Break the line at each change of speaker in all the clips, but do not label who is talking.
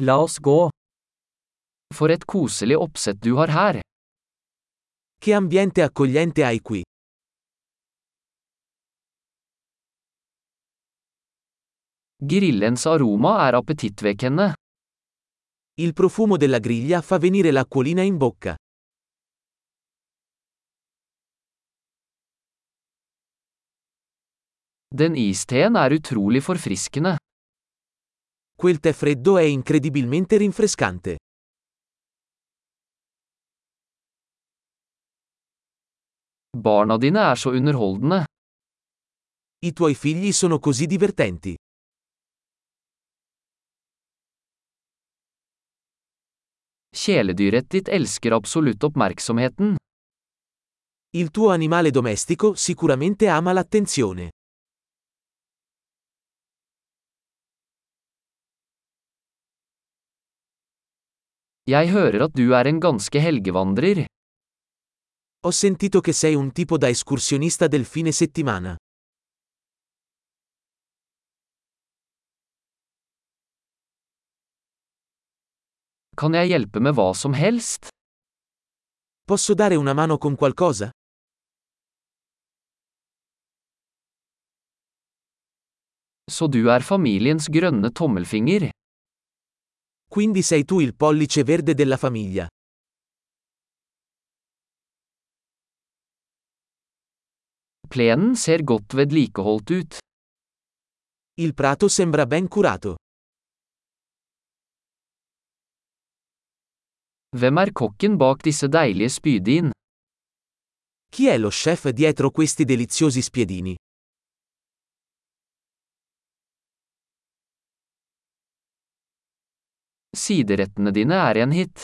La oss gå. For et koselig oppsett du har her.
Che ambiente accogliente hai qui.
Grillens aroma er appetittvekkende.
Il profumo della griglia fa venire l'acquolina in bocca.
Den isteen er utrolig forfriskende.
Quel tè freddo è incredibilmente rinfrescante.
Barna dine er så underholdende.
I tuoi figli sono così divertenti.
Kjæledyret ditt elsker absolutt oppmerksomheten.
Il tuo animale domestico sicuramente ama l'attenzione.
Jeg hører at du er en ganske helgevandrer.
Ho sentito che sei un tipo da escursionista del fine settimana.
Kan jeg hjelpe med hva som helst?
Posso dare una mano con qualcosa?
Så du er familiens grønne tommelfinger.
Quindi sei tu il pollice verde della famiglia.
Plenen ser godt vedlikeholdt ut.
Il prato sembra ben curato.
Hvem er kokken bak disse deilige spydin?
Chi è lo chef dietro questi deliziosi spiedini?
Siderettene dine er en hit.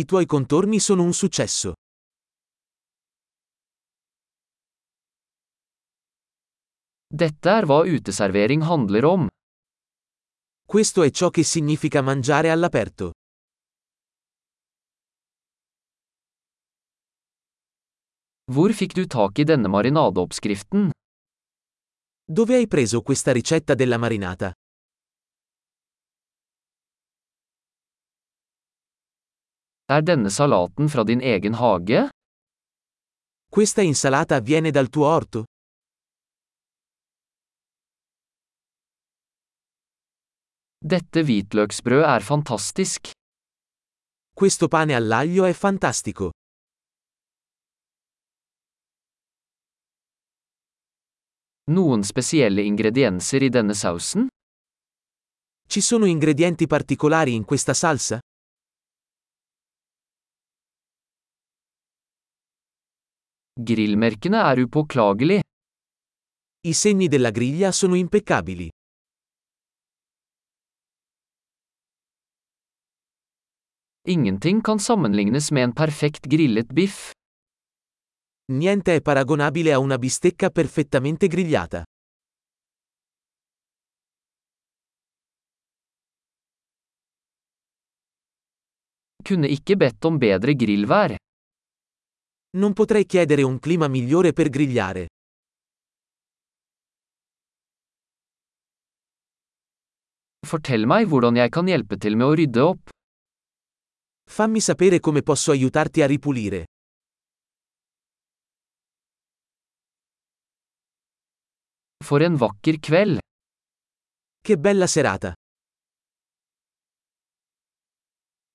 I tuoi contorni sono un successo.
Dette er hva uteservering handler om.
Questo è ciò che significa mangiare all'aperto.
Hvor fikk du tak i denne marinadeoppskriften?
Dove hai preso questa ricetta della marinata?
Er denne salaten fra din egen hage?
Questa insalata viene dal tuo orto?
Dette hvitløksbrød er fantastisk.
Questo pane all'aglio è fantastico.
Noen spesielle ingredienser i denne sausen?
Ci sono ingredienti particolari in questa salsa?
Grillmerkene er upåklagelig.
I segni della griglia sono impeccabili.
Ingenting kan sammenlignes med en perfekt grillet biff.
Niente è paragonabile a una bistecca perfettamente grigliata.
Kunne ikke bedt om bedre grillvær.
Non potrei chiedere un clima migliore per grigliare.
Fortell meg hvordan jeg kan hjelpe til med å rydde opp.
Fammi sapere come posso aiutarti a ripulire.
For en vakker kveld!
Che bella serata!